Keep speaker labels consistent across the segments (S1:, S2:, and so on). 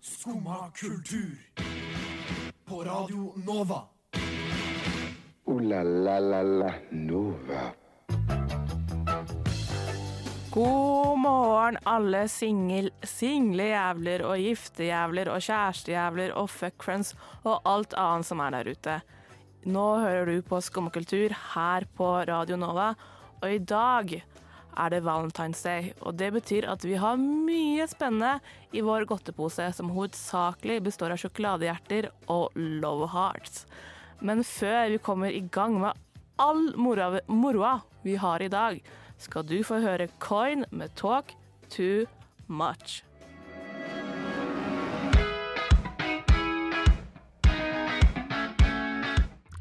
S1: Skumma kultur. På Radio Nova.
S2: Ooh la la la la Nova.
S3: God morgen, alle singel, single jævler og gifte jævler og kjærestejævler og fuckfriends og alt annet som er der ute. Nå hører du på Skummakultur her på Radio Nova, og i dag er det Valentine's Day, og det betyr at vi har mye spennende i vår godtepose, som hovedsakelig består av sjokoladehjerter og love hearts. Men før vi kommer i gang med all moroa, moroa vi har i dag, skal du få høre Coin med Talk Too Much.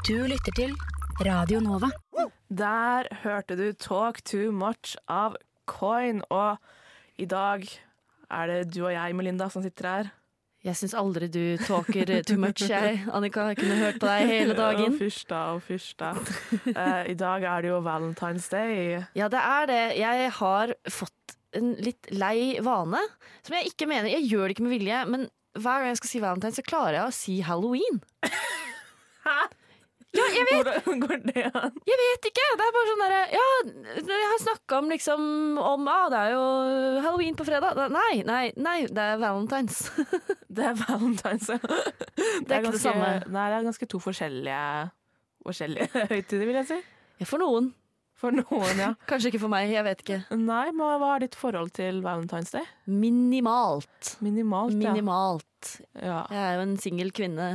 S4: Du lytter til Radio Nova.
S3: Der hørte du Talk Too Much av Coin, og i dag er det du og jeg, Melinda, som sitter her.
S5: Jeg syns aldri du talker too much, jeg. Annika, jeg kunne hørt på deg hele dagen.
S3: Og fysj da, og fysj da. Eh, I dag er det jo Valentine's Day.
S5: Ja, det er det. Jeg har fått en litt lei vane, som jeg ikke mener Jeg gjør det ikke med vilje, men hver gang jeg skal si valentine, så klarer jeg å si halloween. Ja, jeg vet,
S3: Hvordan går det an?
S5: jeg vet ikke! Det er bare sånn derre Ja, jeg har snakka om liksom om ah, det er jo halloween på fredag. Nei, nei, nei, det er valentines.
S3: Det er Valentine's Day.
S5: Det er ikke det samme.
S3: Nei, det er ganske to forskjellige, forskjellige høytider, vil jeg si.
S5: Ja, For noen.
S3: For noen, ja.
S5: Kanskje ikke for meg, jeg vet ikke.
S3: Nei, men hva er ditt forhold til Valentine's Day?
S5: Minimalt.
S3: Minimalt, ja.
S5: Minimalt.
S3: ja.
S5: Jeg er jo en singel kvinne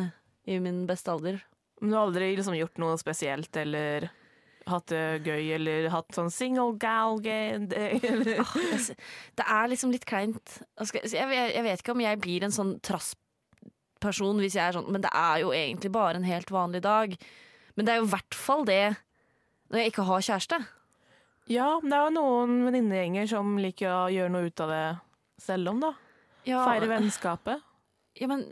S5: i min beste alder.
S3: Men du har aldri liksom gjort noe spesielt, eller hatt det gøy, eller hatt sånn single gal day, eller
S5: Åh, jeg s- Det er liksom litt kleint. Jeg skal- så Jeg, jeg jeg vet ikke om jeg blir en sånn trassperson hvis jeg er sånn, men det er jo egentlig bare en helt vanlig dag. Men det er jo i hvert fall det når jeg ikke har kjæreste.
S3: Ja, men det er jo noen venninnegjenger som liker å gjøre noe ut av det selv om, da.
S5: Ja,
S3: Feire vennskapet.
S5: Ja, men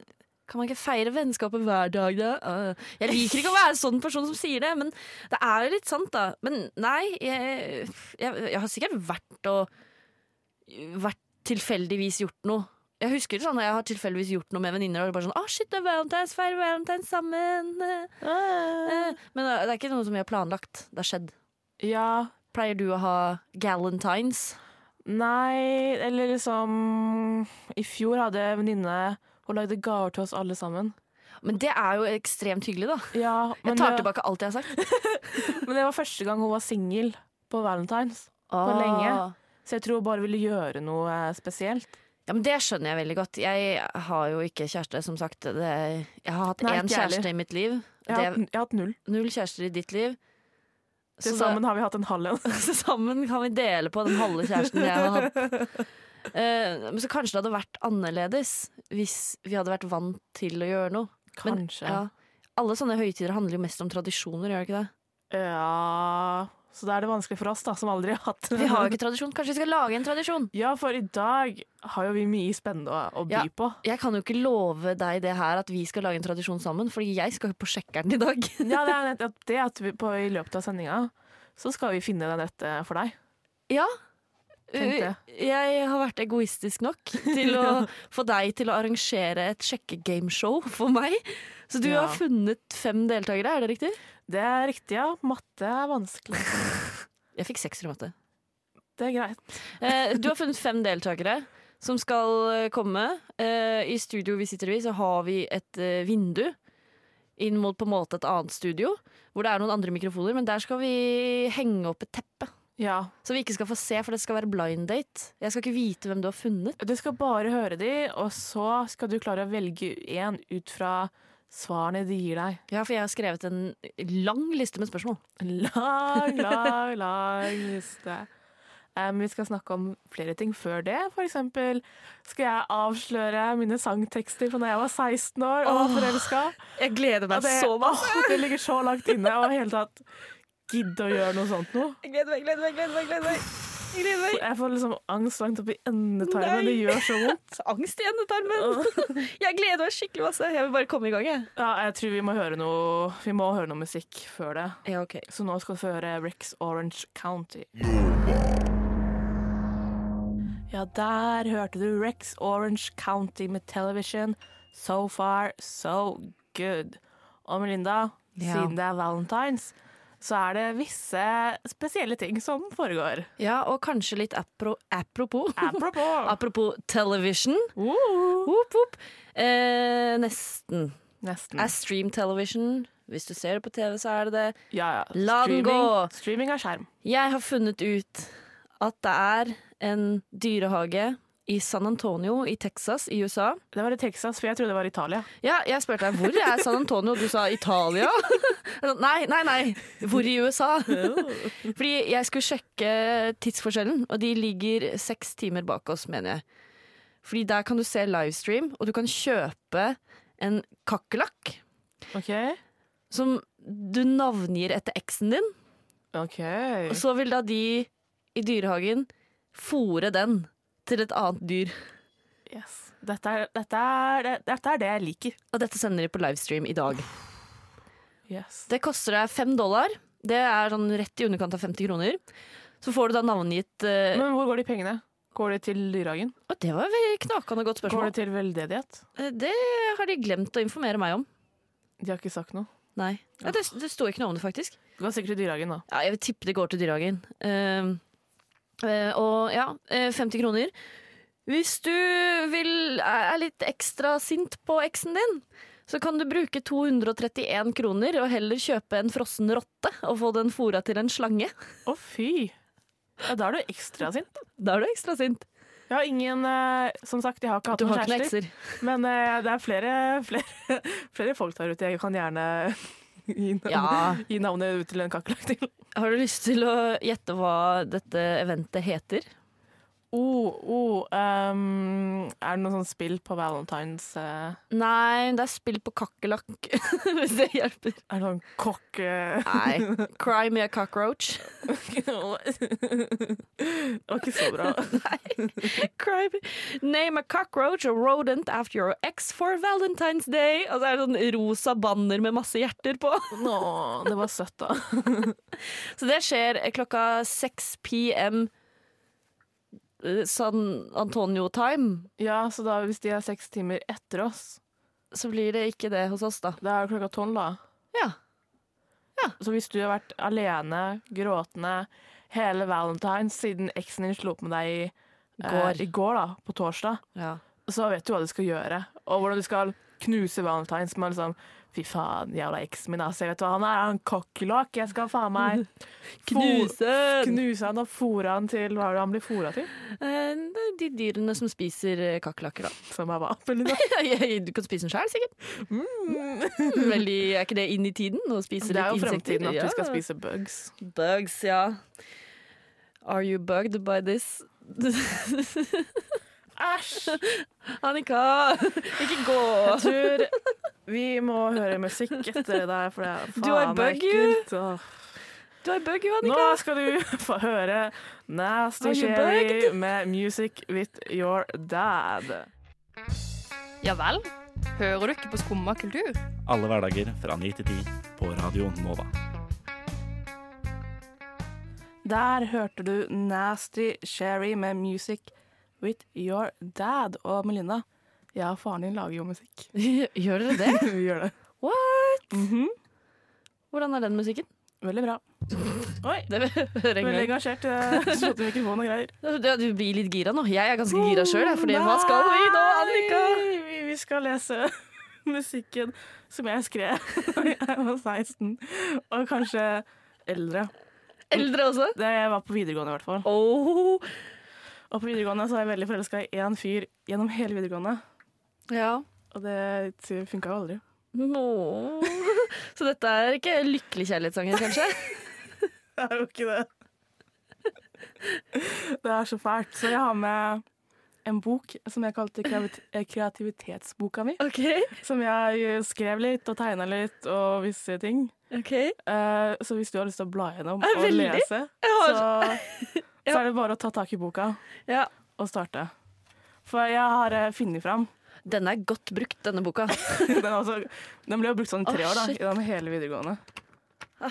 S5: kan man ikke feire vennskapet hver dag, da? Øh. Jeg liker ikke å være sånn person som sier det, men det er jo litt sant, da. Men nei, jeg, jeg, jeg har sikkert vært og vært tilfeldigvis gjort noe. Jeg husker sånn, når jeg har tilfeldigvis gjort noe med venninner. Og det er bare sånn, ah shit, det er valentines, feire valentines sammen eh,
S3: Ah.
S5: eh». Men det er ikke noe som vi har planlagt. Det har skjedd.
S3: Ja,
S5: Pleier du å ha galentines?
S3: nei, eller liksom I fjor hadde jeg en venninne Hun lagde gaver til oss alle sammen.
S5: Men det er jo ekstremt hyggelig, da.
S3: Ja,
S5: Jeg tar tilbake alt jeg har sagt.
S3: men det var første gang hun var singel på Valentine's.
S5: Ah.
S3: lenge. Så jeg tror hun bare ville gjøre noe eh, spesielt.
S5: Ja, men Det skjønner jeg veldig godt. Jeg har jo ikke kjæreste, som sagt. Det, jeg har hatt
S3: Nei,
S5: én
S3: ikke jeg heller.
S5: kjæreste i mitt liv.
S3: Jeg
S5: Det
S3: har,
S5: er
S3: hatt, jeg har hatt null.
S5: null kjærester i ditt liv.
S3: Til
S5: Så da-
S3: sammen har vi hatt en halv en.
S5: så sammen kan vi dele på den halve kjæresten jeg har hatt. Eh, men så kanskje det hadde vært annerledes hvis vi hadde vært vant til å gjøre noe. Men,
S3: Kanskje.
S5: ja, alle sånne høytider handler jo mest om tradisjoner, gjør det ikke det?
S3: Ja, så da er det vanskelig for oss da, som aldri har hatt
S5: Vi har jo ikke tradisjon. Kanskje vi skal lage en tradisjon?
S3: Ja, for i dag har jo vi mye spennende å, å by
S5: Ja.
S3: på.
S5: Jeg kan jo ikke love deg det her at vi skal lage en tradisjon sammen, fordi jeg skal jo på Sjekkeren i dag.
S3: Ja, det er nettopp det at vi på, i løpet av sendinga så skal vi finne den rette for deg.
S5: Ja. Eh,
S3: Tenkte
S5: Jeg har vært egoistisk nok til å få deg til å arrangere et sjekkegameshow for meg. Så du
S3: Ja.
S5: har funnet fem deltakere, er det riktig?
S3: Det er riktig, ja. Matte er vanskelig.
S5: Jeg fikk sekser i matte.
S3: Det er greit.
S5: Eh, Du har funnet fem deltakere som skal eh, komme. Eh, I studio vi sitter i, så har vi et eh, vindu inn mot på en måte et annet studio, hvor det er noen andre mikrofoner, men der skal vi henge opp et teppe.
S3: Ja.
S5: Så vi ikke skal få se, for det skal være blind date. Jeg skal ikke vite hvem du har funnet.
S3: Du skal bare høre de, og så skal du klare å velge én ut fra svarene de gir deg.
S5: Ja, for jeg har skrevet en lang liste med spørsmål.
S3: Lang, lang, lang liste. Em, Eh, vi skal snakke om flere ting før det. For eksempel skal jeg avsløre mine sangtekster fra da jeg var 16 år og var forelska.
S5: Jeg gleder
S3: Og det- Åh, det ligger så langt inne å i hele tatt gidde å gjøre noe sånt noe.
S5: Jeg gleder meg, gleder meg, gleder meg, gleder meg. Jeg gleder meg.
S3: Jeg får liksom angst langt opp i endetarmen.
S5: Nei.
S3: Det gjør så vondt.
S5: Angst i endetarmen. Jeg gleder meg skikkelig masse. Jeg vil bare komme i gang, jeg.
S3: Ja, jeg tror vi må høre noe Vi må høre noe musikk før det.
S5: Ja, ok.
S3: Så nå skal du få høre Rex Orange County. Ja, der hørte du Rex Orange County med Television. So far, so good. Og Melinda,
S5: Ja.
S3: siden det er valentines, så er det visse spesielle ting som foregår.
S5: Ja, og kanskje litt apro apropos.
S3: Apropos.
S5: apropos television.
S3: Uh,
S5: Whoop, whoop. Eh, nesten.
S3: nesten.
S5: Er stream television. Hvis du ser det på TV, så er det det.
S3: Ja, ja.
S5: La den gå.
S3: Streaming av skjerm.
S5: Jeg har funnet ut at det er en dyrehage i San Antonio i Texas i USA.
S3: Det var i Texas, for jeg trodde det var Italia.
S5: Ja, jeg spurte deg hvor er San Antonio, og du sa Italia. Jeg sa, Nei, nei, nei. Hvor i USA? Fordi jeg skulle sjekke tidsforskjellen, og de ligger seks timer bak oss, mener jeg. Fordi der kan du se livestream, og du kan kjøpe en kakerlakk
S3: Ok.
S5: som du navngir etter eksen din.
S3: Ok.
S5: Og så vil da de i dyrehagen fòre den til et annet dyr.
S3: Yes. Dette, er, dette, er, det- dette er det jeg liker.
S5: Og dette sender de på livestream i dag.
S3: Yes.
S5: Det koster deg fem dollar. Det er sånn rett i underkant av 50 kroner. Så får du da navngitt eh,
S3: Men hvor går de pengene? Går de til dyrehagen?
S5: Å, det var et veldig knakende godt
S3: Går
S5: spørsmål.
S3: de til veldedighet?
S5: Eh, Det har de glemt å informere meg om.
S3: De har ikke sagt noe.
S5: Nei. Ja, det, det sto ikke noe om det, faktisk.
S3: Det går sikkert til dyrehagen, da.
S5: Ja, jeg vil tippe det går til dyrehagen. Eh, eh, og ja, eh, 50 kroner. Hvis du vil, er er litt ekstra sint på eksen din, så kan du bruke 231 kroner og heller kjøpe en frossen rotte og få den fôra til en slange.
S3: Å, fy! Ja, da er du ekstra sint.
S5: Da er du ekstra sint.
S3: Jeg har ingen eh, Som sagt, jeg har ikke hatt
S5: Du
S3: noen
S5: har ikke noen
S3: kjærester.
S5: ekser.
S3: Men eh, det er flere, flere, flere folk der ute. Jeg kan gjerne gi navnet,
S5: Ja.
S3: gi navnet ut til en kakerlakk til.
S5: Har du lyst til å gjette hva dette eventet heter?
S3: Oh, oh, ehm, er det noe sånn spill på valentines eh,
S5: Nei, det er spill på kakerlakk, hvis det hjelper.
S3: Er det sånn kokk... eh,
S5: Nei. Cry me a cockroach.
S3: det var ikke så bra.
S5: Cry me. Name a cockroach a rodent after your ex for Valentine's Day. Og så er det sånn rosa banner med masse hjerter på.
S3: Nå, det var søtt, da.
S5: Så det skjer eh, klokka 6 pm eh, San Antonio time.
S3: Ja, så da hvis de er seks timer etter oss,
S5: Så blir det ikke det hos oss, da.
S3: da er det klokka tolv, da.
S5: Ja.
S3: Så hvis du har vært alene, gråtende, hele Valentine's siden eksen din slo opp med deg i
S5: Går.
S3: Eh, i går da, på torsdag,
S5: ja.
S3: så vet du hva du skal gjøre. Og hvordan du skal knuse Valentine's med liksom Fy faen, jævla eksen min, ass. Jeg vet hva han er. Han kokkelakk. Jeg skal faen meg
S5: Knuse!
S3: fo- knuse han og fôre han til hva er det han blir fôra til?
S5: Eh, De dyrene som spiser eh, kakerlakker, da.
S3: Som er hva? Eller noe.
S5: du kan spise den sjøl, sikkert. Mm. Veldig, er ikke det inn i tiden? Å spise
S3: Det er jo
S5: litt insekter?
S3: fremtiden at vi skal
S5: Ja.
S3: spise bugs.
S5: Bugs, ja. Are you bugged by this?
S3: Æsj!
S5: Annika, ikke gå!
S3: Jeg tror vi må høre musikk etter det der, for det er faen
S5: Du har bug, you.
S3: ekkelt. Åh.
S5: Du er bug, jo,
S3: Nå
S5: Annika.
S3: skal du få høre Nasty
S5: Are you
S3: Sherry med Music With Your Dad.
S6: Ja vel? Hører du ikke på Skumma kultur?
S7: Alle hverdager fra 9 til 10 på Radio Nova.
S3: Der hørte du Nasty Sherry med Music With Your Dad. Og Melinda, jeg og faren din lager jo musikk.
S5: Gjør dere det?
S3: Vi gjør det.
S5: What? Hvordan er den musikken?
S3: Veldig bra. Oi,
S5: Det vil jeg høre en
S3: veldig
S5: gang.
S3: engasjert. eh, Slått i mikrofonen og greier.
S5: Ja, Du blir litt gira nå. Jeg er ganske gira sjøl, Fordi hva skal vi nå, Annika?
S3: Nei, Vi, vi skal lese musikken som jeg skrev da jeg var 16, og kanskje eldre.
S5: Eldre også?
S3: Det jeg var på videregående i hvert fall.
S5: Oh.
S3: Og på videregående så var jeg veldig forelska i én fyr gjennom hele videregående,
S5: Ja.
S3: og det funka jo aldri.
S5: Nå. Så dette er ikke lykkelig kjærlighetssanger, kanskje?
S3: Det er jo ikke det. Det er så fælt. Så jeg har med en bok som jeg kalte kreavit- eh, kreativitetsboka mi.
S5: Ok,
S3: Som jeg skrev litt og tegna litt og visse ting.
S5: ok.
S3: Eh, Så hvis du har lyst til å bla gjennom
S5: Eh,
S3: og
S5: veldig.
S3: lese,
S5: har-
S3: så, så er det bare å ta tak i boka
S5: Ja.
S3: og starte. For jeg har eh, funnet fram.
S5: Den er godt brukt, denne boka.
S3: Den, er også, den ble jo brukt sånn i tre
S5: Å,
S3: år, da,
S5: shit.
S3: gjennom hele videregående.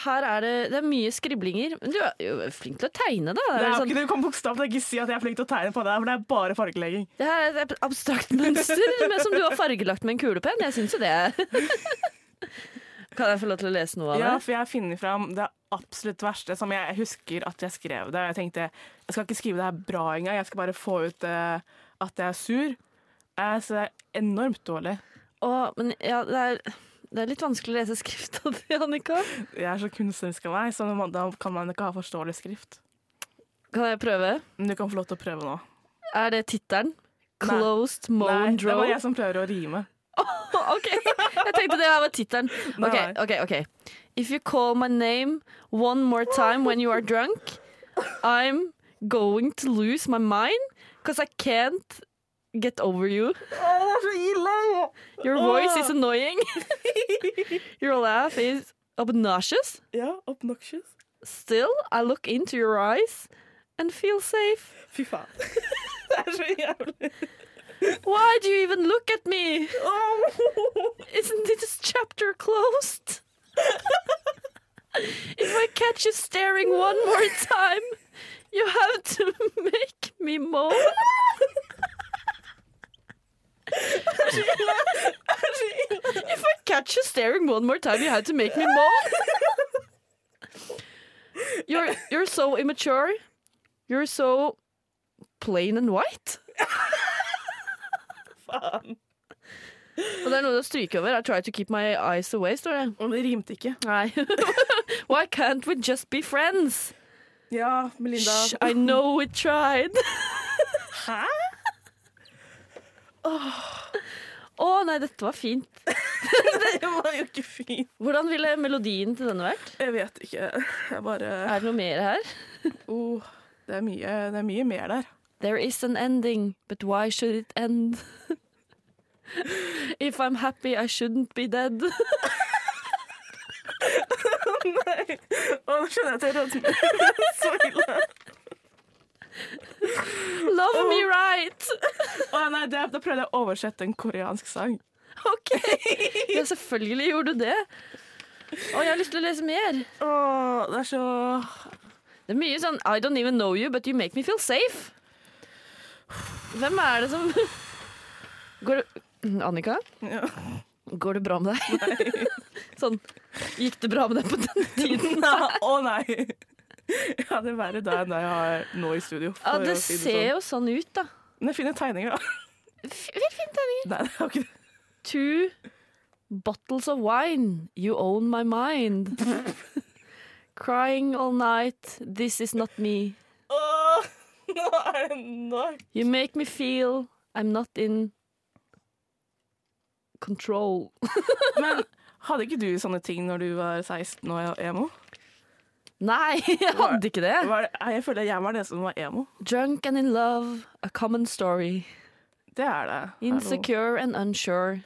S5: Her er det, det er mye skriblinger. Men du er jo flink til å tegne, da.
S3: Det
S5: Er
S3: er
S5: det,
S3: jo
S5: sånn,
S3: ikke det, Kom bokstavelig talt ikke si at jeg er flink til å tegne på det, her, for det er bare fargelegging.
S5: det her er et abstrakt mønster men som du har fargelagt med en kulepenn. Jeg syns jo det. Kan jeg få lov til å lese noe av det?
S3: Ja, for jeg har funnet fram det absolutt verste som jeg husker at jeg skrev det. Og jeg tenkte jeg skal ikke skrive det her bra engang, jeg skal bare få ut eh, at jeg er sur. Eh, så det er enormt dårlig.
S5: Å, men ja, det er, det er litt vanskelig å lese skrifta di, Annika.
S3: Jeg er så kunstnerisk av meg, så nå må- da kan man ikke ha forståelig skrift.
S5: Kan jeg prøve?
S3: Men du kan få lov til å prøve nå.
S5: Er det tittelen?
S3: Nei.
S5: Closed
S3: Nei,
S5: Moan
S3: det var
S5: Drow?
S3: jeg som prøver å rime.
S5: OK, jeg tenkte det her var tittelen. OK,
S3: Nei.
S5: OK. ok If you call my name one more time when you are drunk, I'm going to lose my mind because I can't get over you. Your voice is annoying. Your laugh is obnoxious.
S3: Ja, obnoxious.
S5: Still, I look into your eyes and feel safe.
S3: Fy faen. det er så jævlig.
S5: Why do you even look at me? Isn't this chapter closed? if I catch you staring one more time, you have to make me moan. if I catch you staring one more time, you have to make me moan. You're you're so immature. You're so plain and white. Og det er noe å stryke over. I try to keep my eyes away, står det.
S3: Og det rimte ikke.
S5: Nei. Why can't we just be friends?
S3: Ja, Melinda.
S5: Shh, I know we tried.
S3: Hæ?
S5: Å nei, dette var fint.
S3: Det var jo ikke fint.
S5: Hvordan ville melodien til denne vært?
S3: Jeg vet ikke. Jeg bare
S5: Er det noe mer her?
S3: oh, det, er mye, det er mye mer der.
S5: There is an ending, but why should it end? If I'm happy, I shouldn't be dead.
S3: Nei. Å, nå skjønner jeg at jeg rødmer. Så ille.
S5: Love me right!
S3: Å, nei, det, da prøvde jeg å oversette en koreansk sang.
S5: OK! Ja, selvfølgelig gjorde du det. Å, jeg har lyst til å lese mer.
S3: Å, det er så
S5: Det er mye sånn I don't even know you, but you make me feel safe. Hvem er det som Går det Annika?
S3: Ja.
S5: Går det bra med deg? sånn Gikk det bra med deg på denne tiden?
S3: Nei, Å nei. Jeg hadde verre da enn det jeg har nå i studio.
S5: Ja,
S3: for
S5: det
S3: å si
S5: ser
S3: sånn.
S5: jo sånn ut, da.
S3: Men jeg finner tegninger, da.
S5: Veldig fine tegninger.
S3: Nei, det er jo ikke det.
S5: Two bottles of wine. You own my mind. Crying all night. This is not me.
S3: Å, nå er det nok.
S5: You make me feel I'm not in control.
S3: Men hadde ikke du sånne ting når du var 16 og emo?
S5: Nei, jeg hadde ikke det.
S3: Var det, Nei, jeg føler jeg var den som var emo.
S5: Drunk and in love, a common story.
S3: Det er det. Hallo.
S5: Insecure and unsure.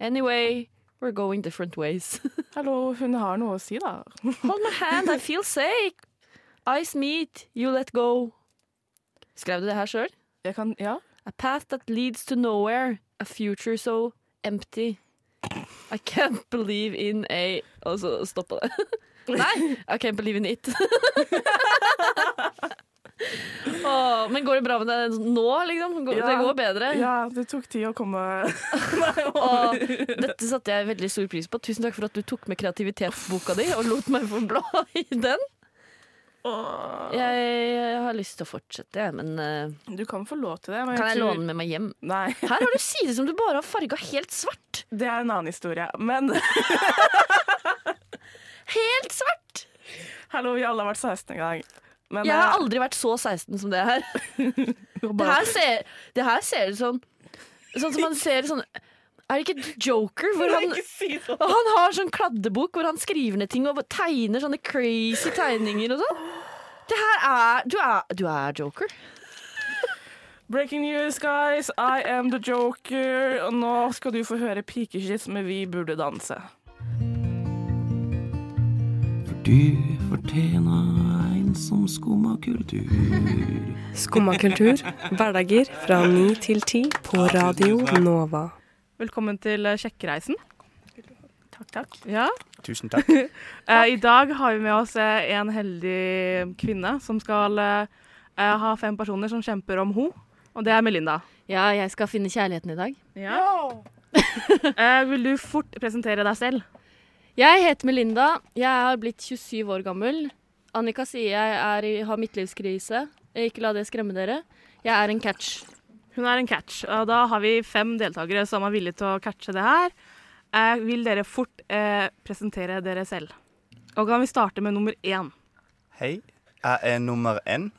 S5: Anyway, we're going different ways.
S3: Hallo, hun har noe å si, da.
S5: Hold my hand, I feel sick. Eyes meet, you let go. Skrev du det her sjøl?
S3: Jeg kan Ja.
S5: A path that leads to nowhere. A future so empty. I can't believe in a Og så stoppa det. Nei, I can't believe in it. Åh, men går det bra med deg nå, liksom? Går, Det
S3: Ja.
S5: går bedre?
S3: ja det tok tid å komme
S5: Og dette satte jeg veldig stor pris på. Tusen takk for at du tok med kreativitetsboka di og lot meg få bla i den.
S3: Åh.
S5: Jeg, har lyst til å fortsette, jeg, men eh,
S3: Du kan få lov til det. Men
S5: kan jeg
S3: tror...
S5: låne den med meg hjem?
S3: Nei,
S5: Her har du sider som du bare har farga helt svart.
S3: det er en annen historie. Men
S5: Helt svart!
S3: hallo, vi alle har vært 16 en gang. Men,
S5: Jeg har
S3: eh,
S5: aldri vært så 16 som det her. Det
S3: bare-
S5: her ser, det her ser ut som Sånn som man ser sånn Er det ikke Joker? Hvor han, og han har sånn kladdebok hvor han skriver ned ting og tegner sånne crazy tegninger og sånn. Det her er Du er, du er Joker.
S3: Breaking news, guys. I am the joker. Og nå skal du få høre pikeskiss med Vi burde danse.
S8: Skumma kultur. Hverdager fra 9 til 10 på Radio Nova.
S9: Velkommen til Sjekkreisen.
S10: Takk, takk.
S3: eh, Ja.
S11: Tusen takk.
S3: Eh, I dag har vi med oss eh, en heldig kvinne som skal eh, eh, ha fem personer som kjemper om henne. Og det er Melinda.
S5: Ja, jeg skal finne kjærligheten i dag.
S3: Eh, vil du fort presentere deg selv?
S5: Jeg heter Melinda. Jeg har blitt 27 år gammel. Annika sier jeg er i, har midtlivskrise. Eh, Ikke la det skremme dere. Jeg er en catch.
S3: Hun er en catch. Og da har vi fem deltakere som er villige til å catche det her. Eh, vil dere fort eh, presentere dere selv? Og kan vi starte med nummer én?
S11: Hei, jeg er nummer én,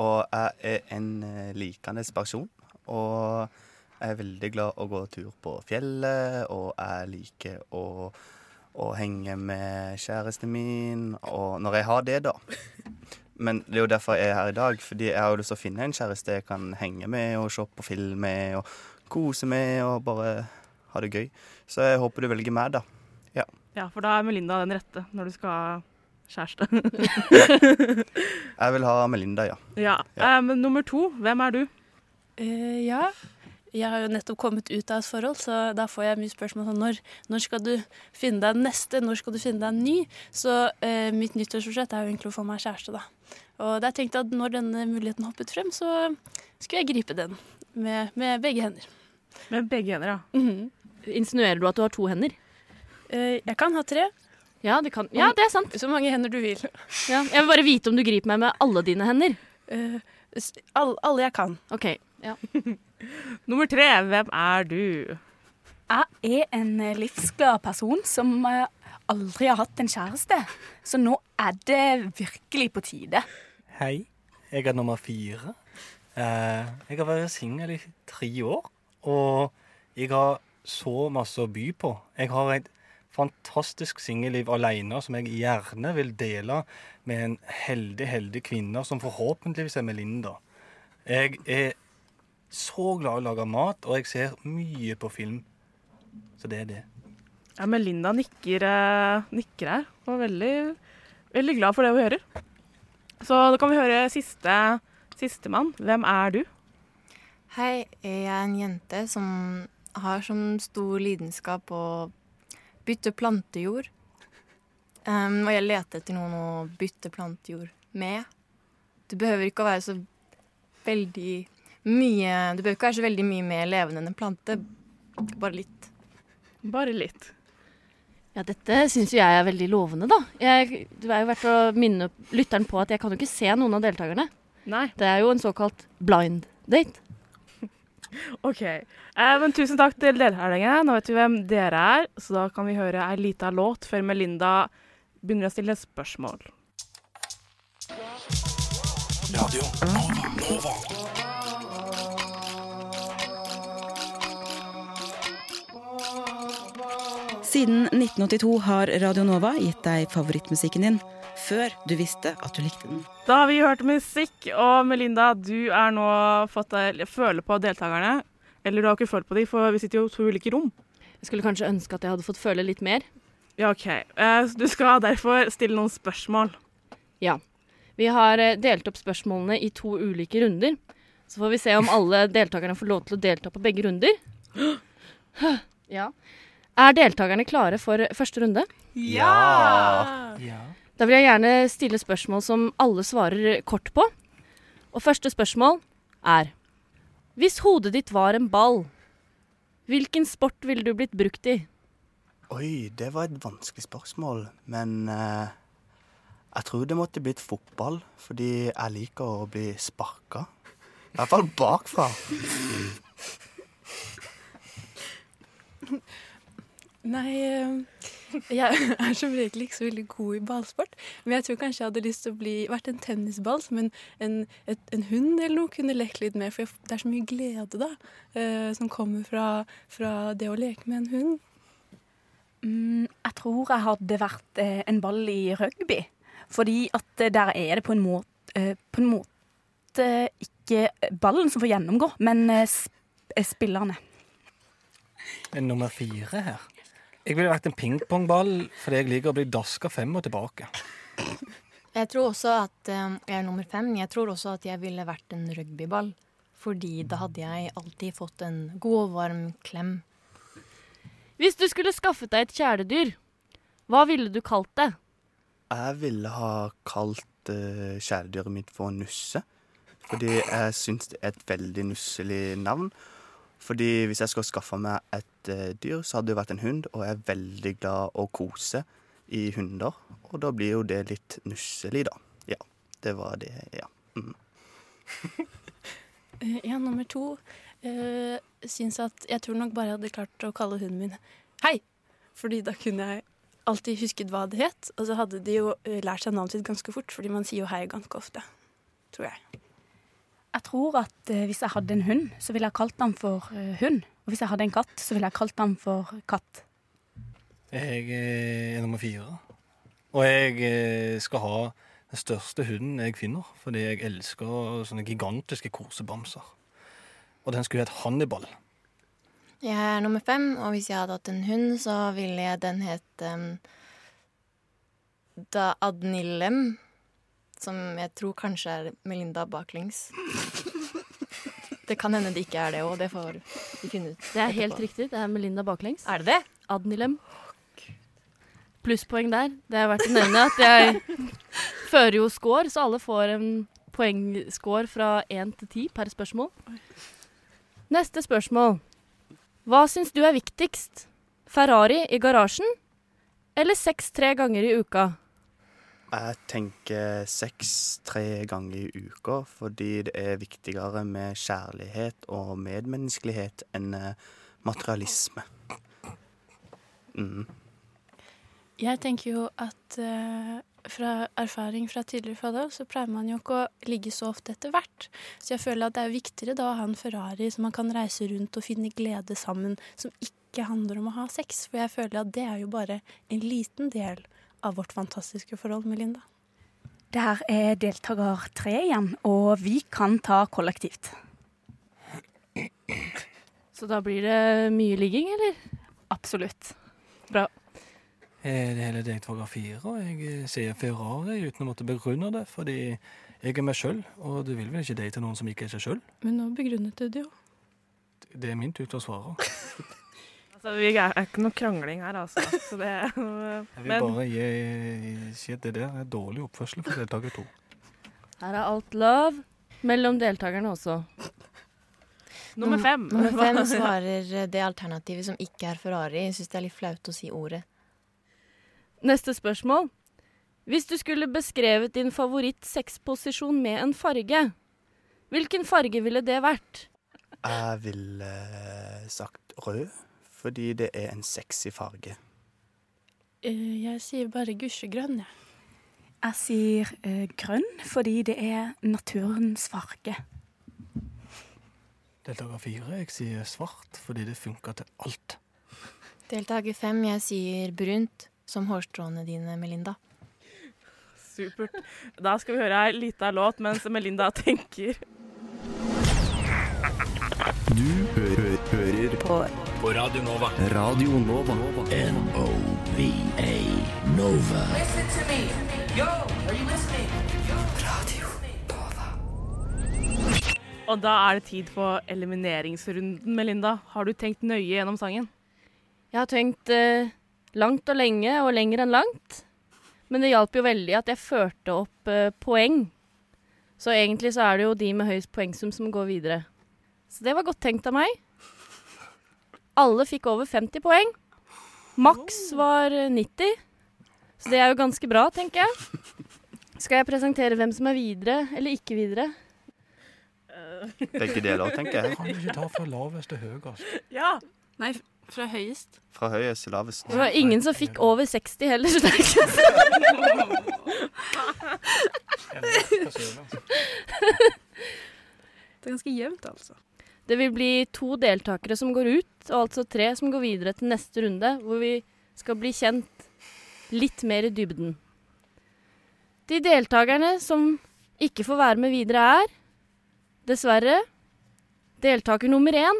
S11: og jeg er en eh, likende person. Og jeg er veldig glad å gå tur på fjellet, og jeg liker å, å henge med kjæresten min, og når jeg har det, da. Men det er jo derfor jeg er her i dag, fordi jeg har jo lyst til å finne en kjæreste jeg kan henge med og se på film med og kose med og bare ha det gøy. Så jeg håper du velger meg, da. Ja.
S3: Ja, for da er Melinda den rette når du skal ha kjæreste.
S11: Jeg vil ha Melinda, ja.
S3: ja. Eh, men nummer to, hvem er du?
S8: Eh, ja. Jeg har jo nettopp kommet ut av et forhold, så da får jeg mye spørsmål om når, når skal du finne deg en neste, når skal du finne deg en ny. Så eh, mitt nyttårsforsett er jo egentlig å få meg kjæreste, da. Og da jeg tenkte at når denne muligheten hoppet frem, så skulle jeg gripe den med, med begge hender.
S3: Med begge hender, ja.
S5: Insinuerer du at du har to hender?
S8: Eh, jeg kan ha tre.
S5: Ja, det, kan. ja, det er sant.
S8: Så mange hender du vil.
S5: Ja, jeg vil bare vite om du griper meg med alle dine hender.
S8: Eh, s- all- alle jeg kan.
S5: OK. Ja.
S3: Nummer tre, hvem er du?
S12: Jeg er en eh, livsglad person som eh, aldri har hatt en kjæreste. Så nå er det virkelig på tide.
S13: Hei, jeg er nummer fire. Eh, jeg har vært singel i tre år, og jeg har så masse å by på. Jeg har et fantastisk singelliv alene som jeg gjerne vil dele med en heldig, heldig kvinne, som forhåpentligvis er Melinda. Jeg er så glad i å lage mat, og jeg ser mye på film. Så det er det.
S3: Ja, Melinda nikker, eh, nikker her. Og er veldig, veldig glad for det hun hører. Så da kan vi høre siste sistemann. Hvem er du?
S14: Hei, jeg er en jente som har som stor lidenskap å bytte plantejord. Em, og jeg leter etter noen å bytte plantejord med. Det behøver ikke å være så veldig mye Du behøver ikke være så veldig mye mer levende enn en plante. Bare litt.
S3: Bare litt.
S5: Ja, dette syns jo jeg er veldig lovende, da. Jeg, det er jo verdt å minne lytteren på at jeg kan jo ikke se noen av deltakerne.
S3: Nei.
S5: Det er jo en såkalt blind date.
S3: OK. Eh, men tusen takk til deltakerne. Nå vet vi hvem dere er, så da kan vi høre ei lita låt før Melinda begynner å stille spørsmål.
S15: Radio Nova. Nova.
S16: Siden 1982 har Radio Nova gitt deg favorittmusikken din før du visste at du likte den.
S3: Da har vi hørt musikk, og Melinda, du er nå fått deg føle på deltakerne. Eller du har ikke følt på dem, for vi sitter jo i to ulike rom.
S5: Jeg skulle kanskje ønske at jeg hadde fått føle litt mer.
S3: Ja, OK. Eh, så Du skal derfor stille noen spørsmål.
S5: Ja. Vi har eh, delt opp spørsmålene i to ulike runder. Så får vi se om alle deltakerne får lov til å delta på begge runder. Ja. Er deltakerne klare for eh, første runde?
S15: Ja!
S5: Da vil jeg gjerne stille spørsmål som alle svarer kort på. Og første spørsmål er Hvis hodet ditt var en ball, hvilken sport ville du blitt brukt i?
S11: Oi, det var et vanskelig spørsmål, men eh, jeg tror det måtte blitt fotball, fordi jeg liker å bli sparka. I hvert fall bakfra.
S8: Nei, eh, jeg er som regel ikke så veldig god i ballsport. Men jeg tror kanskje jeg hadde lyst til å bli, vært en tennisball som en, en, et, en hund eller noe kunne lekt litt med. For jeg, det er så mye glede da, eh, som kommer fra, fra det å leke med en hund.
S12: Mm, jeg tror jeg hadde vært eh, en ball i rugby. Fordi at eh, der er det på en måte, eh, på en måte ikke ballen som får gjennomgå, men eh, sp eh, spillerne.
S13: En Nummer fire her. Jeg ville vært en pingpongball, fordi jeg liker å bli daska fem og tilbake.
S14: Jeg tror også at eh, Jeg er nummer fem. Jeg tror også at jeg ville vært en rugbyball. Fordi da hadde jeg alltid fått en god og varm klem.
S5: Hvis du skulle skaffet deg et kjæledyr,
S17: Hva ville du kalt det?
S11: Jeg ville ha kalt eh, kjæledyret mitt for Nusse. Fordi jeg syns det er et veldig nusselig navn. Fordi hvis jeg skulle skaffa meg et eh, dyr, så hadde det vært en hund, og jeg er veldig glad å kose i hunder. Og da blir jo det litt nusselig, da. Ja, det var det, ja. Mm.
S8: Eh, Ja, nummer to eh, syns at jeg tror nok bare jeg hadde klart å kalle hunden min Hei! Fordi da kunne jeg alltid husket hva det het. Og så hadde de jo eh, lært seg navnet sitt ganske fort, fordi man sier jo hei ganske ofte. Tror jeg.
S12: Jeg tror at eh, hvis jeg hadde en hund, så ville jeg kalt den for eh, hund. Og hvis jeg hadde en katt, så ville jeg kalt den for katt.
S13: Jeg eh, er nummer fire. Og jeg eh, skal ha den største hunden jeg finner, fordi jeg elsker sånne gigantiske kosebamser. Og den skulle hett Hannibal.
S18: Jeg er nummer fem, og hvis jeg hadde hatt en hund, så ville jeg den het em, Da Adnillem. Som jeg tror kanskje er Melinda baklengs. Det kan hende det ikke er det òg, det får vi finne ut.
S17: Det er helt
S18: etterpå.
S17: riktig. Det er Melinda baklengs.
S18: Er det det?
S17: Adnilem. Plusspoeng der. Det er verdt å nevne at jeg fører jo score, så alle får en poengscore fra 1 til 10 per spørsmål. Neste spørsmål. Hva syns du er viktigst? Ferrari i garasjen eller sex tre ganger i uka?
S11: Jeg tenker sex tre ganger i uka, fordi det er viktigere med kjærlighet og medmenneskelighet enn eh, materialisme. Mm.
S8: Jeg tenker jo at eh, fra erfaring fra tidligere fra da, så pleier man jo ikke å ligge så ofte etter hvert. Så jeg føler at det er viktigere da å ha en Ferrari som man kan reise rundt og finne glede sammen, som ikke handler om å ha sex. For jeg føler at det er jo bare en liten del av vårt fantastiske forhold med Linda.
S12: Der er deltaker tre igjen, og vi kan ta kollektivt.
S17: Så da blir det mye ligging, eller? Absolutt. Bra.
S13: Eh, Det hele deltaker fire, og jeg eh, sier Ferrari uten å måtte begrunne det, fordi jeg er meg sjøl, og du vil vel ikke date noen som ikke er seg sjøl?
S8: Men nå begrunnet du det jo.
S13: Det er min tur til å svare.
S19: Altså, vi er, er ikke noe krangling her, altså. Så det,
S13: Jeg vil
S19: men
S13: bare gi, si at det der er dårlig oppførsel for deltaker to.
S17: Her er alt love mellom deltakerne også. Nummer fem.
S18: Nummer fem
S17: Hva-
S18: svarer eh, det alternativet som ikke er Ferrari. Jeg syns det er litt flaut å si ordet.
S17: Neste spørsmål. Hvis du skulle beskrevet din favoritt-sexposisjon med en farge, hvilken farge ville det vært?
S11: Jeg ville eh, sagt rød, fordi det er en sexy farge.
S8: Eh, jeg sier bare gusjegrønn, jeg.
S12: Jeg sier eh, grønn fordi det er naturens farge.
S13: Deltaker fire, jeg sier svart, fordi det funker til alt.
S18: Deltaker fem, jeg sier brunt som hårstråene dine, Melinda.
S19: supert. Da skal vi høre ei lita låt mens Melinda tenker.
S20: Du hø hø hører på.
S7: På Radio Nova.
S20: Radio Nova. N-O-V-A Nova.
S21: Listen to me. Yo, are you listening? Radio.
S19: Og da er det tid for elimineringsrunden, Melinda. Har du tenkt nøye gjennom sangen?
S17: Jeg har tenkt eh, langt og lenge, og lenger enn langt. Men det hjalp jo veldig at jeg førte opp eh, poeng. Så egentlig så er det jo de med høyest poengsum som går videre. Så det var godt tenkt av meg. Alle fikk over 50 poeng. Maks var eh, 90. Så det er jo ganske bra, tenker jeg. Skal jeg presentere hvem som er videre eller ikke videre?
S11: Begge deler, tenker jeg.
S13: Kan du ikke ta fra lavest til høyest?
S19: Ja.
S8: Nei, fra høyest.
S11: Fra høyest til lavest.
S17: Det var ingen som fikk over 60 heller, så det er ikke så
S8: Det er ganske jevnt, altså.
S17: Det vil bli to deltakere som går ut, og altså tre som går videre til neste runde, hvor vi skal bli kjent litt mer i dybden. De deltakerne som ikke får være med videre, er dessverre deltaker nummer én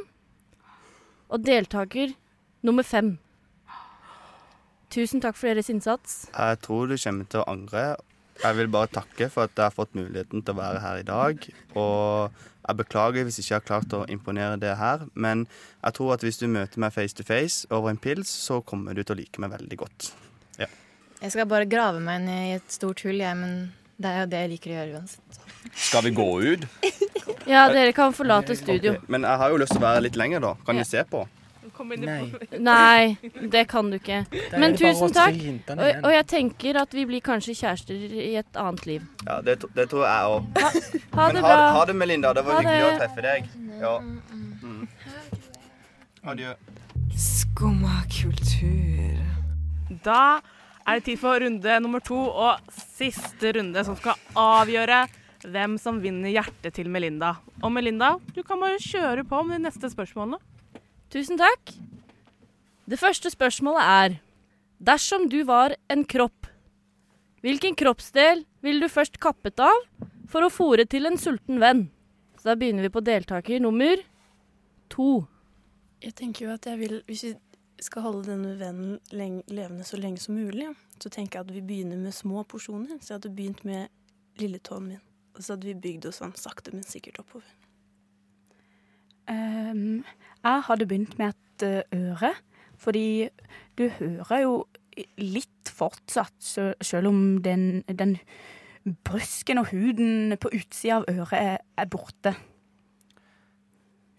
S17: og deltaker nummer fem. Tusen takk for deres innsats.
S11: Jeg tror du kommer til å angre. Jeg vil bare takke for at jeg har fått muligheten til å være her i dag. Og jeg beklager hvis ikke jeg har klart å imponere det her, men jeg tror at hvis du møter meg face to face over en pils, så kommer du til å like meg veldig godt. Ja.
S22: Jeg skal bare grave meg ned i et stort hull, jeg, men det er jo det jeg liker å gjøre uansett.
S23: Skal vi gå ut?
S5: Ja, dere kan forlate studio.
S23: Ok, Men jeg har jo lyst til å være litt lenger, da. Kan vi se på?
S5: Nei. Nei, det kan du ikke.
S23: er
S5: Men
S23: bare
S5: tusen
S23: å
S5: takk.
S23: si hintene
S5: Og,
S23: igjen.
S5: og jeg tenker at vi blir kanskje kjærester i et annet liv.
S23: Ja, det, tro- det tror jeg òg.
S5: Ha
S23: Men
S5: det
S23: ha,
S5: bra.
S23: ha det, Melinda. Det var
S5: Ha
S23: hyggelig å
S5: det.
S23: treffe deg. Ja. Mm. Adjø.
S11: Skumma kultur.
S3: Da er det tid for runde nummer to og siste runde som skal avgjøre hvem som vinner hjertet til Melinda. Og Melinda, du kan bare kjøre på med de neste spørsmålene.
S5: Tusen takk. Det første spørsmålet er Dersom du var en kropp, hvilken kroppsdel ville du først kappet av for å fòre til en sulten venn? Så da begynner vi på deltaker nummer to.
S8: Jeg tenker jo at jeg vil, hvis vi skal holde denne vennen leng- levende så lenge som mulig, så tenker jeg at vi begynner med små porsjoner. Så jeg hadde begynt med lilletåen min. Og så hadde vi bygd oss sånn sakte, men sikkert oppover.
S12: Ehm, jeg hadde begynt med et eh, øre, fordi du hører jo litt fortsatt, sjø- selv om den, den brysken og huden på utsida av øret er, er borte.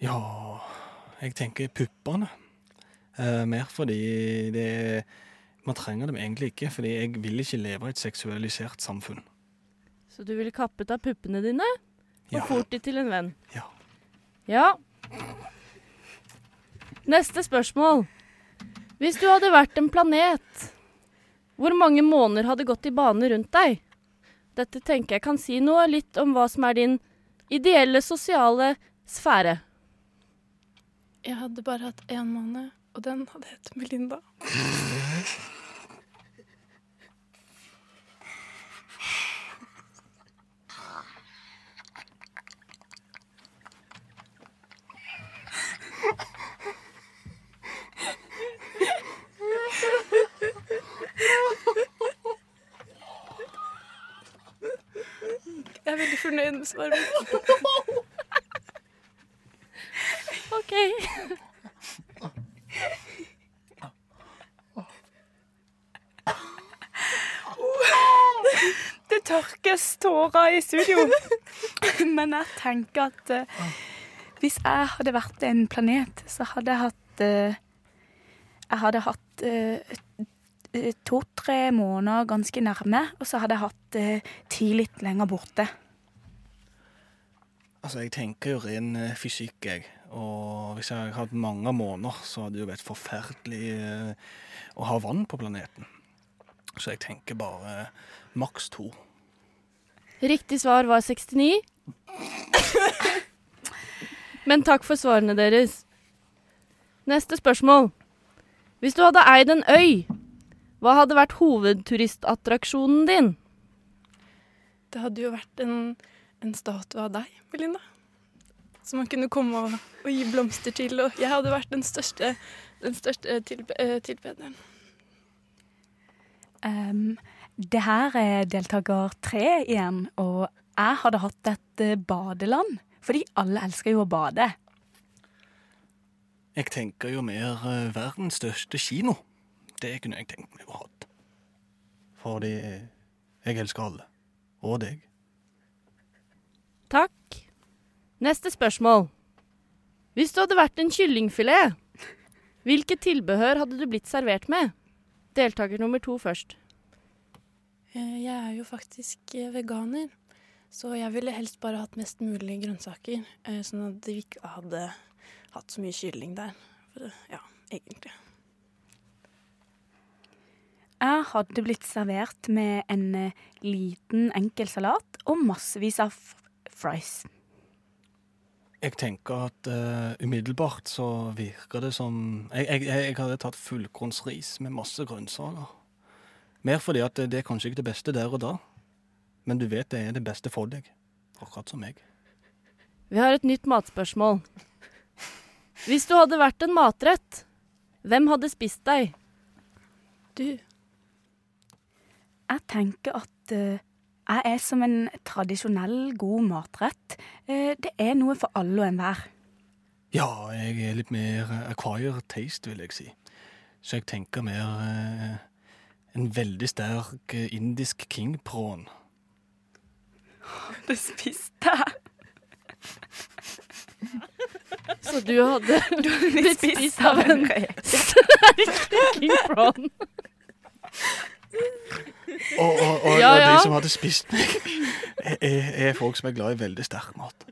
S11: Ja Jeg tenker puppene. Eh, mer fordi det Man trenger dem egentlig ikke, fordi jeg vil ikke leve i et seksualisert samfunn.
S5: Så du ville kappet av puppene dine og
S11: Ja.
S5: fòrt de til en venn? Ja. ja. Neste spørsmål. Hvis du hadde vært en planet, hvor mange måneder hadde gått i bane rundt deg? Dette tenker jeg kan si noe litt om hva som er din ideelle sosiale sfære.
S8: Jeg hadde bare hatt én måned, og den hadde hett Melinda. Jeg er veldig fornøyd med svaret mitt.
S5: OK.
S12: Det tørkes tårer i studio. Men jeg tenker at eh, hvis jeg hadde vært en planet, så hadde jeg hatt eh, Jeg hadde hatt eh, eh, to-tre måneder ganske nærme, og så hadde jeg hatt eh, ti litt lenger borte.
S11: Altså, jeg tenker jo ren eh, fysikk, jeg. Og hvis jeg hadde hatt mange måneder, så hadde det jo vært forferdelig eh, å ha vann på planeten. Så jeg tenker bare eh, maks to.
S5: Riktig svar var 69. Men takk for svarene deres. Neste spørsmål. Hvis du hadde eid en øy, hva hadde vært hovedturistattraksjonen din?
S8: Det hadde jo vært en, en statue av deg, Melinda. Som man kunne komme og, og gi blomster til. Og jeg hadde vært den største, den største tilbe, eh, tilbederen.
S12: Um, det her er deltaker tre igjen, og jeg hadde hatt et eh, badeland. Fordi alle elsker jo å bade.
S11: Jeg tenker jo mer eh, verdens største kino. Det kunne jeg tenkt meg å ha hatt. Fordi jeg elsker alle. Og deg.
S5: Takk. Neste spørsmål. Hvis du hadde vært en kyllingfilet, hvilket tilbehør hadde du blitt servert med? Deltaker nummer to først.
S8: Eh, Jeg er jo faktisk eh, veganer, så jeg ville helst bare hatt mest mulig grønnsaker. eh, Sånn at vi ikke hadde hatt så mye kylling der. For, eh, ja, egentlig.
S12: Jeg hadde blitt servert med en eh, liten, enkel salat og massevis av f- fries.
S11: Jeg tenker at eh, umiddelbart så virker det som Jeg, jeg, jeg jeg hadde tatt fullkornsris med masse grønnsaker. Mer fordi at det er kanskje ikke det beste der og da, men du vet det er det beste for deg. Akkurat som meg.
S5: Vi har et nytt matspørsmål. Hvis du hadde vært en matrett, hvem hadde spist deg?
S8: Du.
S12: Jeg tenker at eh, jeg er som en tradisjonell, god matrett. Eh, det er noe for alle og enhver.
S11: Ja, jeg er litt mer eh, acquired taste, vil jeg si. Så jeg tenker mer eh, En veldig sterk eh, indisk kingprawn.
S12: Du spiste.
S5: Så du hadde
S12: Du hadde blitt
S5: blitt
S12: spist
S5: spist
S12: av
S5: av en
S12: en rek.
S5: sterk kingprawn.
S11: Og, og, og,
S5: Ja,
S11: og de
S5: ja.
S11: som hadde spist meg, er, er folk som er glad i veldig sterk mat.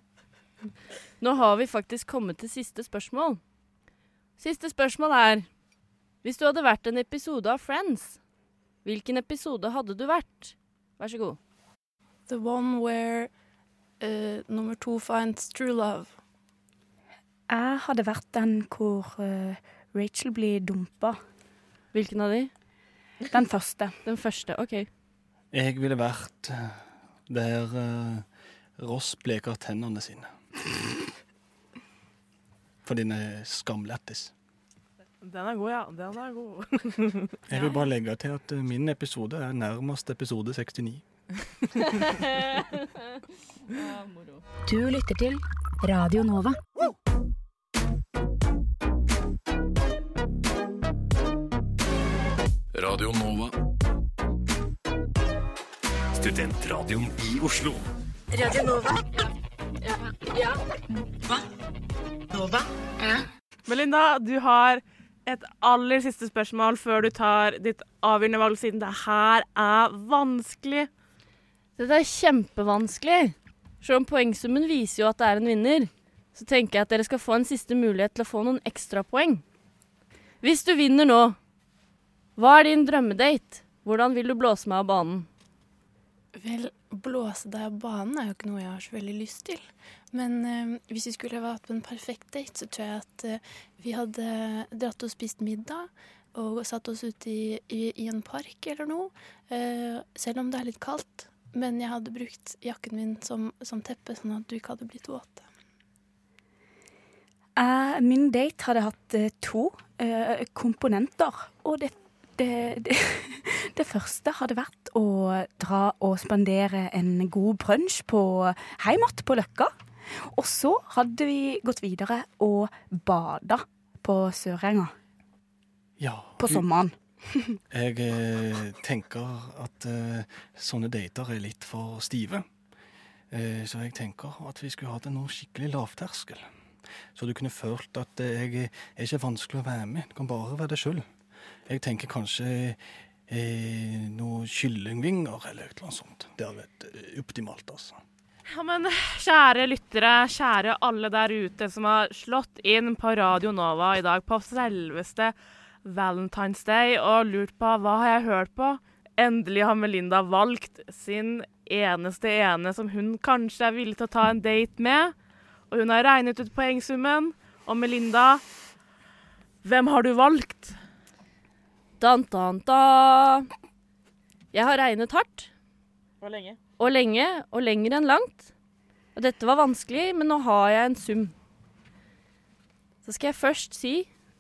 S5: Nå har vi faktisk kommet til siste spørsmål. Siste spørsmål er Hvis du hadde vært en episode av Friends, hvilken episode hadde du vært? Vær så god.
S8: The one where eh, nummer to finds true love.
S12: Jeg hadde vært den hvor eh, Rachel blir dumpa.
S5: Hvilken av de?
S12: Den første.
S5: Den første, OK.
S11: Jeg ville vært eh, der eh, Ross bleker tennene sine. For den er skamlættis.
S3: Den er god, ja. Den er god.
S11: Jeg vil bare legge til at eh, min episode er nærmest episode 69.
S24: Du lytter til Radio Nova.
S25: Radio Nova. Studentradioen i Oslo.
S24: Radio Nova. Ja. Hva? Nova?
S3: Melinda, du har et aller siste spørsmål før du tar ditt avgjørende valg, siden det her er vanskelig.
S5: Dette er kjempevanskelig. Selv om poengsummen viser jo at det er en vinner, så tenker jeg at dere skal få en siste mulighet til å få noen ekstrapoeng. Hvis du vinner nå, hva er din drømmedate? Hvordan vil du blåse meg av banen?
S8: Vel, blåse deg av banen er jo ikke noe jeg har så veldig lyst til. Men eh, hvis vi skulle vært på en perfekt date, så tror jeg at eh, vi hadde dratt og spist middag og satt oss ute i, i, i en park eller noe, eh, selv om det er litt kaldt. Men jeg hadde brukt jakken min som, som teppe, sånn at du ikke hadde blitt våt.
S12: Eh, min date hadde hatt eh, to eh, komponenter. Og det, det, det, det første hadde vært å dra og spandere en god brunsj på heimat på Løkka. Og så hadde vi gått videre og bada på Sørenga
S11: Ja.
S12: på sommeren.
S11: Jeg eh, tenker at eh, sånne dater er litt for stive. Eh, så jeg tenker at vi skulle hatt en noe skikkelig lavterskel. Så du kunne følt at eh, jeg er ikke vanskelig å være med, du kan bare være deg sjøl. Jeg tenker kanskje eh, noe kyllingvinger eller et eller annet sånt. Det hadde vært eh, optimalt, altså.
S3: Ja, men kjære lyttere, kjære alle der ute som har slått inn på Radio Nova i dag på selveste Valentine's Day og lurt på hva har jeg hørt på? Endelig har Melinda valgt sin eneste ene som hun kanskje er villig til å ta en date med. Og hun har regnet ut poengsummen. Og Melinda, hvem har du valgt?
S5: Dan, dan, da. Jeg har regnet hardt.
S3: Hvor lenge?
S5: Og lenge, og lenger enn langt. Og dette var vanskelig, men nå har jeg en sum. Så skal jeg først si,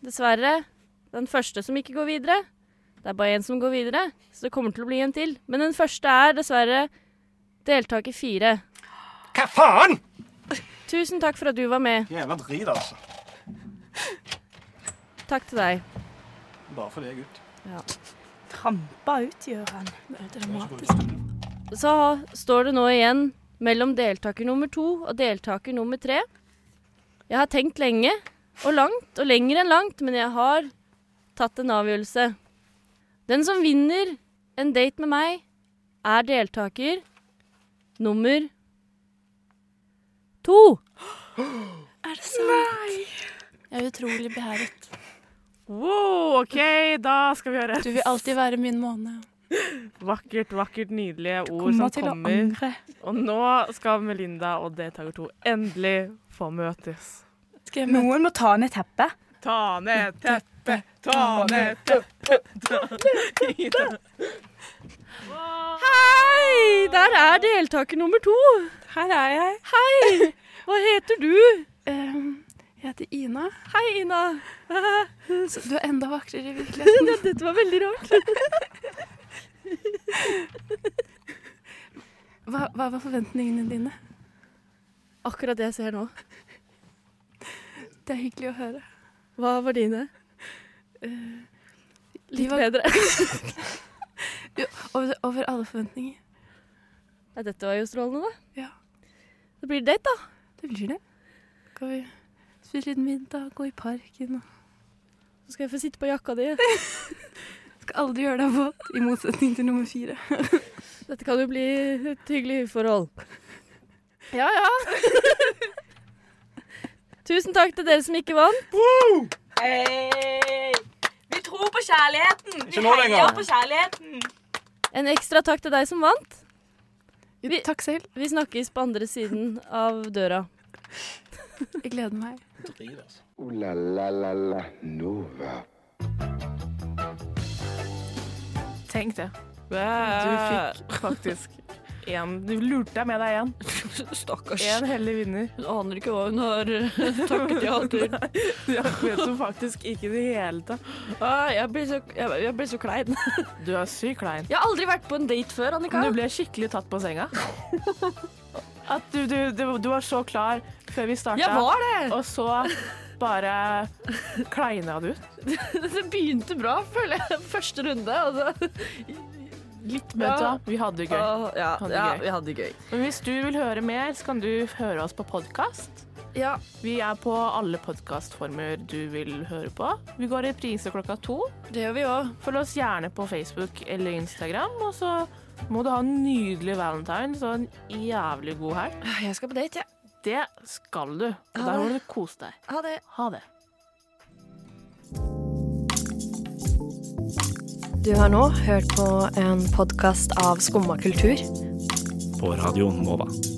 S5: dessverre, den første som ikke går videre. Det er bare én som går videre, så det kommer til å bli en til. Men den første er dessverre deltaker fire.
S11: Hva faen?!
S5: Tusen takk for at du var med.
S11: Jævla drit, altså.
S5: Takk til deg.
S11: Bare for deg, gutt.
S5: Ja.
S12: Trampa ut, Gøran.
S8: Det er dramatisk.
S5: Så står det nå igjen mellom deltaker nummer to og deltaker nummer tre. Jeg har tenkt lenge og langt og lenger enn langt, men jeg har tatt en avgjørelse. Den som vinner en date med meg, er deltaker nummer to.
S8: Er det sant? Jeg er utrolig beæret.
S3: Wow, OK, da skal vi gjøre
S8: Du vil alltid være min måne.
S3: Vakkert, vakkert, nydelige ord
S8: kommer
S3: som
S8: til å
S3: kommer. Og nå skal Melinda og deltaker to endelig få møtes.
S12: Noen må ta ned teppet.
S3: Ta ned teppet, ta ned teppet, ta ned teppet.
S5: Hei! Der er deltaker nummer to.
S8: Her er jeg.
S5: Hei! Hva heter du?
S8: jeg heter Ina.
S5: Hei, Ina.
S8: Så du er enda vakrere i virkeligheten.
S5: Dette var veldig rart.
S8: Hva, hva var forventningene dine?
S5: Akkurat det jeg ser nå.
S8: Det er hyggelig å høre.
S5: Hva var dine?
S8: Eh,
S5: Litt
S8: var-
S5: bedre.
S8: Jo, over, over alle forventninger.
S5: Ja, dette var jo strålende,
S8: da.
S5: Ja. Det blir date, da.
S8: Det blir det. Skal vi spise litt middag, gå i parken og
S5: Så skal jeg få sitte på jakka di.
S8: Skal aldri gjøre deg våt, i motsetning til nummer fire.
S5: dette kan jo bli et hyggelig forhold. Ja, ja. Tusen takk til dere som ikke vant.
S12: Woo! Hey! Vi tror på kjærligheten! Vi
S5: Ikke nå lenger.
S12: heier på kjærligheten!
S5: En ekstra takk til deg som vant.
S8: Vi, takk selv.
S5: Vi snakkes på andre siden av døra.
S8: Jeg gleder meg.
S2: Ooh la la la la Nova.
S3: Tenk det.
S26: Bæ.
S3: Du fikk faktisk én. Du lurte deg med deg én.
S26: Stakkars.
S3: En heldig vinner.
S26: Hun aner ikke hva hun har
S5: eh,
S3: takket ja til.
S26: Jeg vet hun faktisk ikke i det hele tatt.
S5: jeg, blir så, jeg, jeg blir så klein.
S3: Du er sykt klein.
S5: Jeg har aldri vært på en date før, Annika.
S3: Du ble skikkelig tatt på senga. At du, du, du, du var så klar før vi starta,
S5: Jeg var det.
S3: og så bare kleina du ut.
S5: Det begynte bra, føler jeg. Første runde. Og så
S3: Litt mer, da. Vi hadde det gøy.
S5: Åh, ja,
S3: Hadde det
S5: ja,
S3: gøy.
S5: vi hadde det gøy.
S3: Men hvis du vil høre mer, så kan du høre oss på podkast.
S5: Ja.
S3: Vi er på alle podkastformer du vil høre på. Vi går i reprise klokka to.
S5: Det gjør vi òg.
S3: Følg oss gjerne på Facebook eller Instagram. Og så må du ha en nydelig valentines og en jævlig god helg.
S5: Jeg skal på date, jeg.
S3: Det skal du. Og
S5: Ha
S3: der
S5: det.
S3: må du kose deg.
S5: Ha det.
S3: Ha det.
S27: Du har nå hørt på en podkast av Skumma kultur.
S7: På radioen Nova.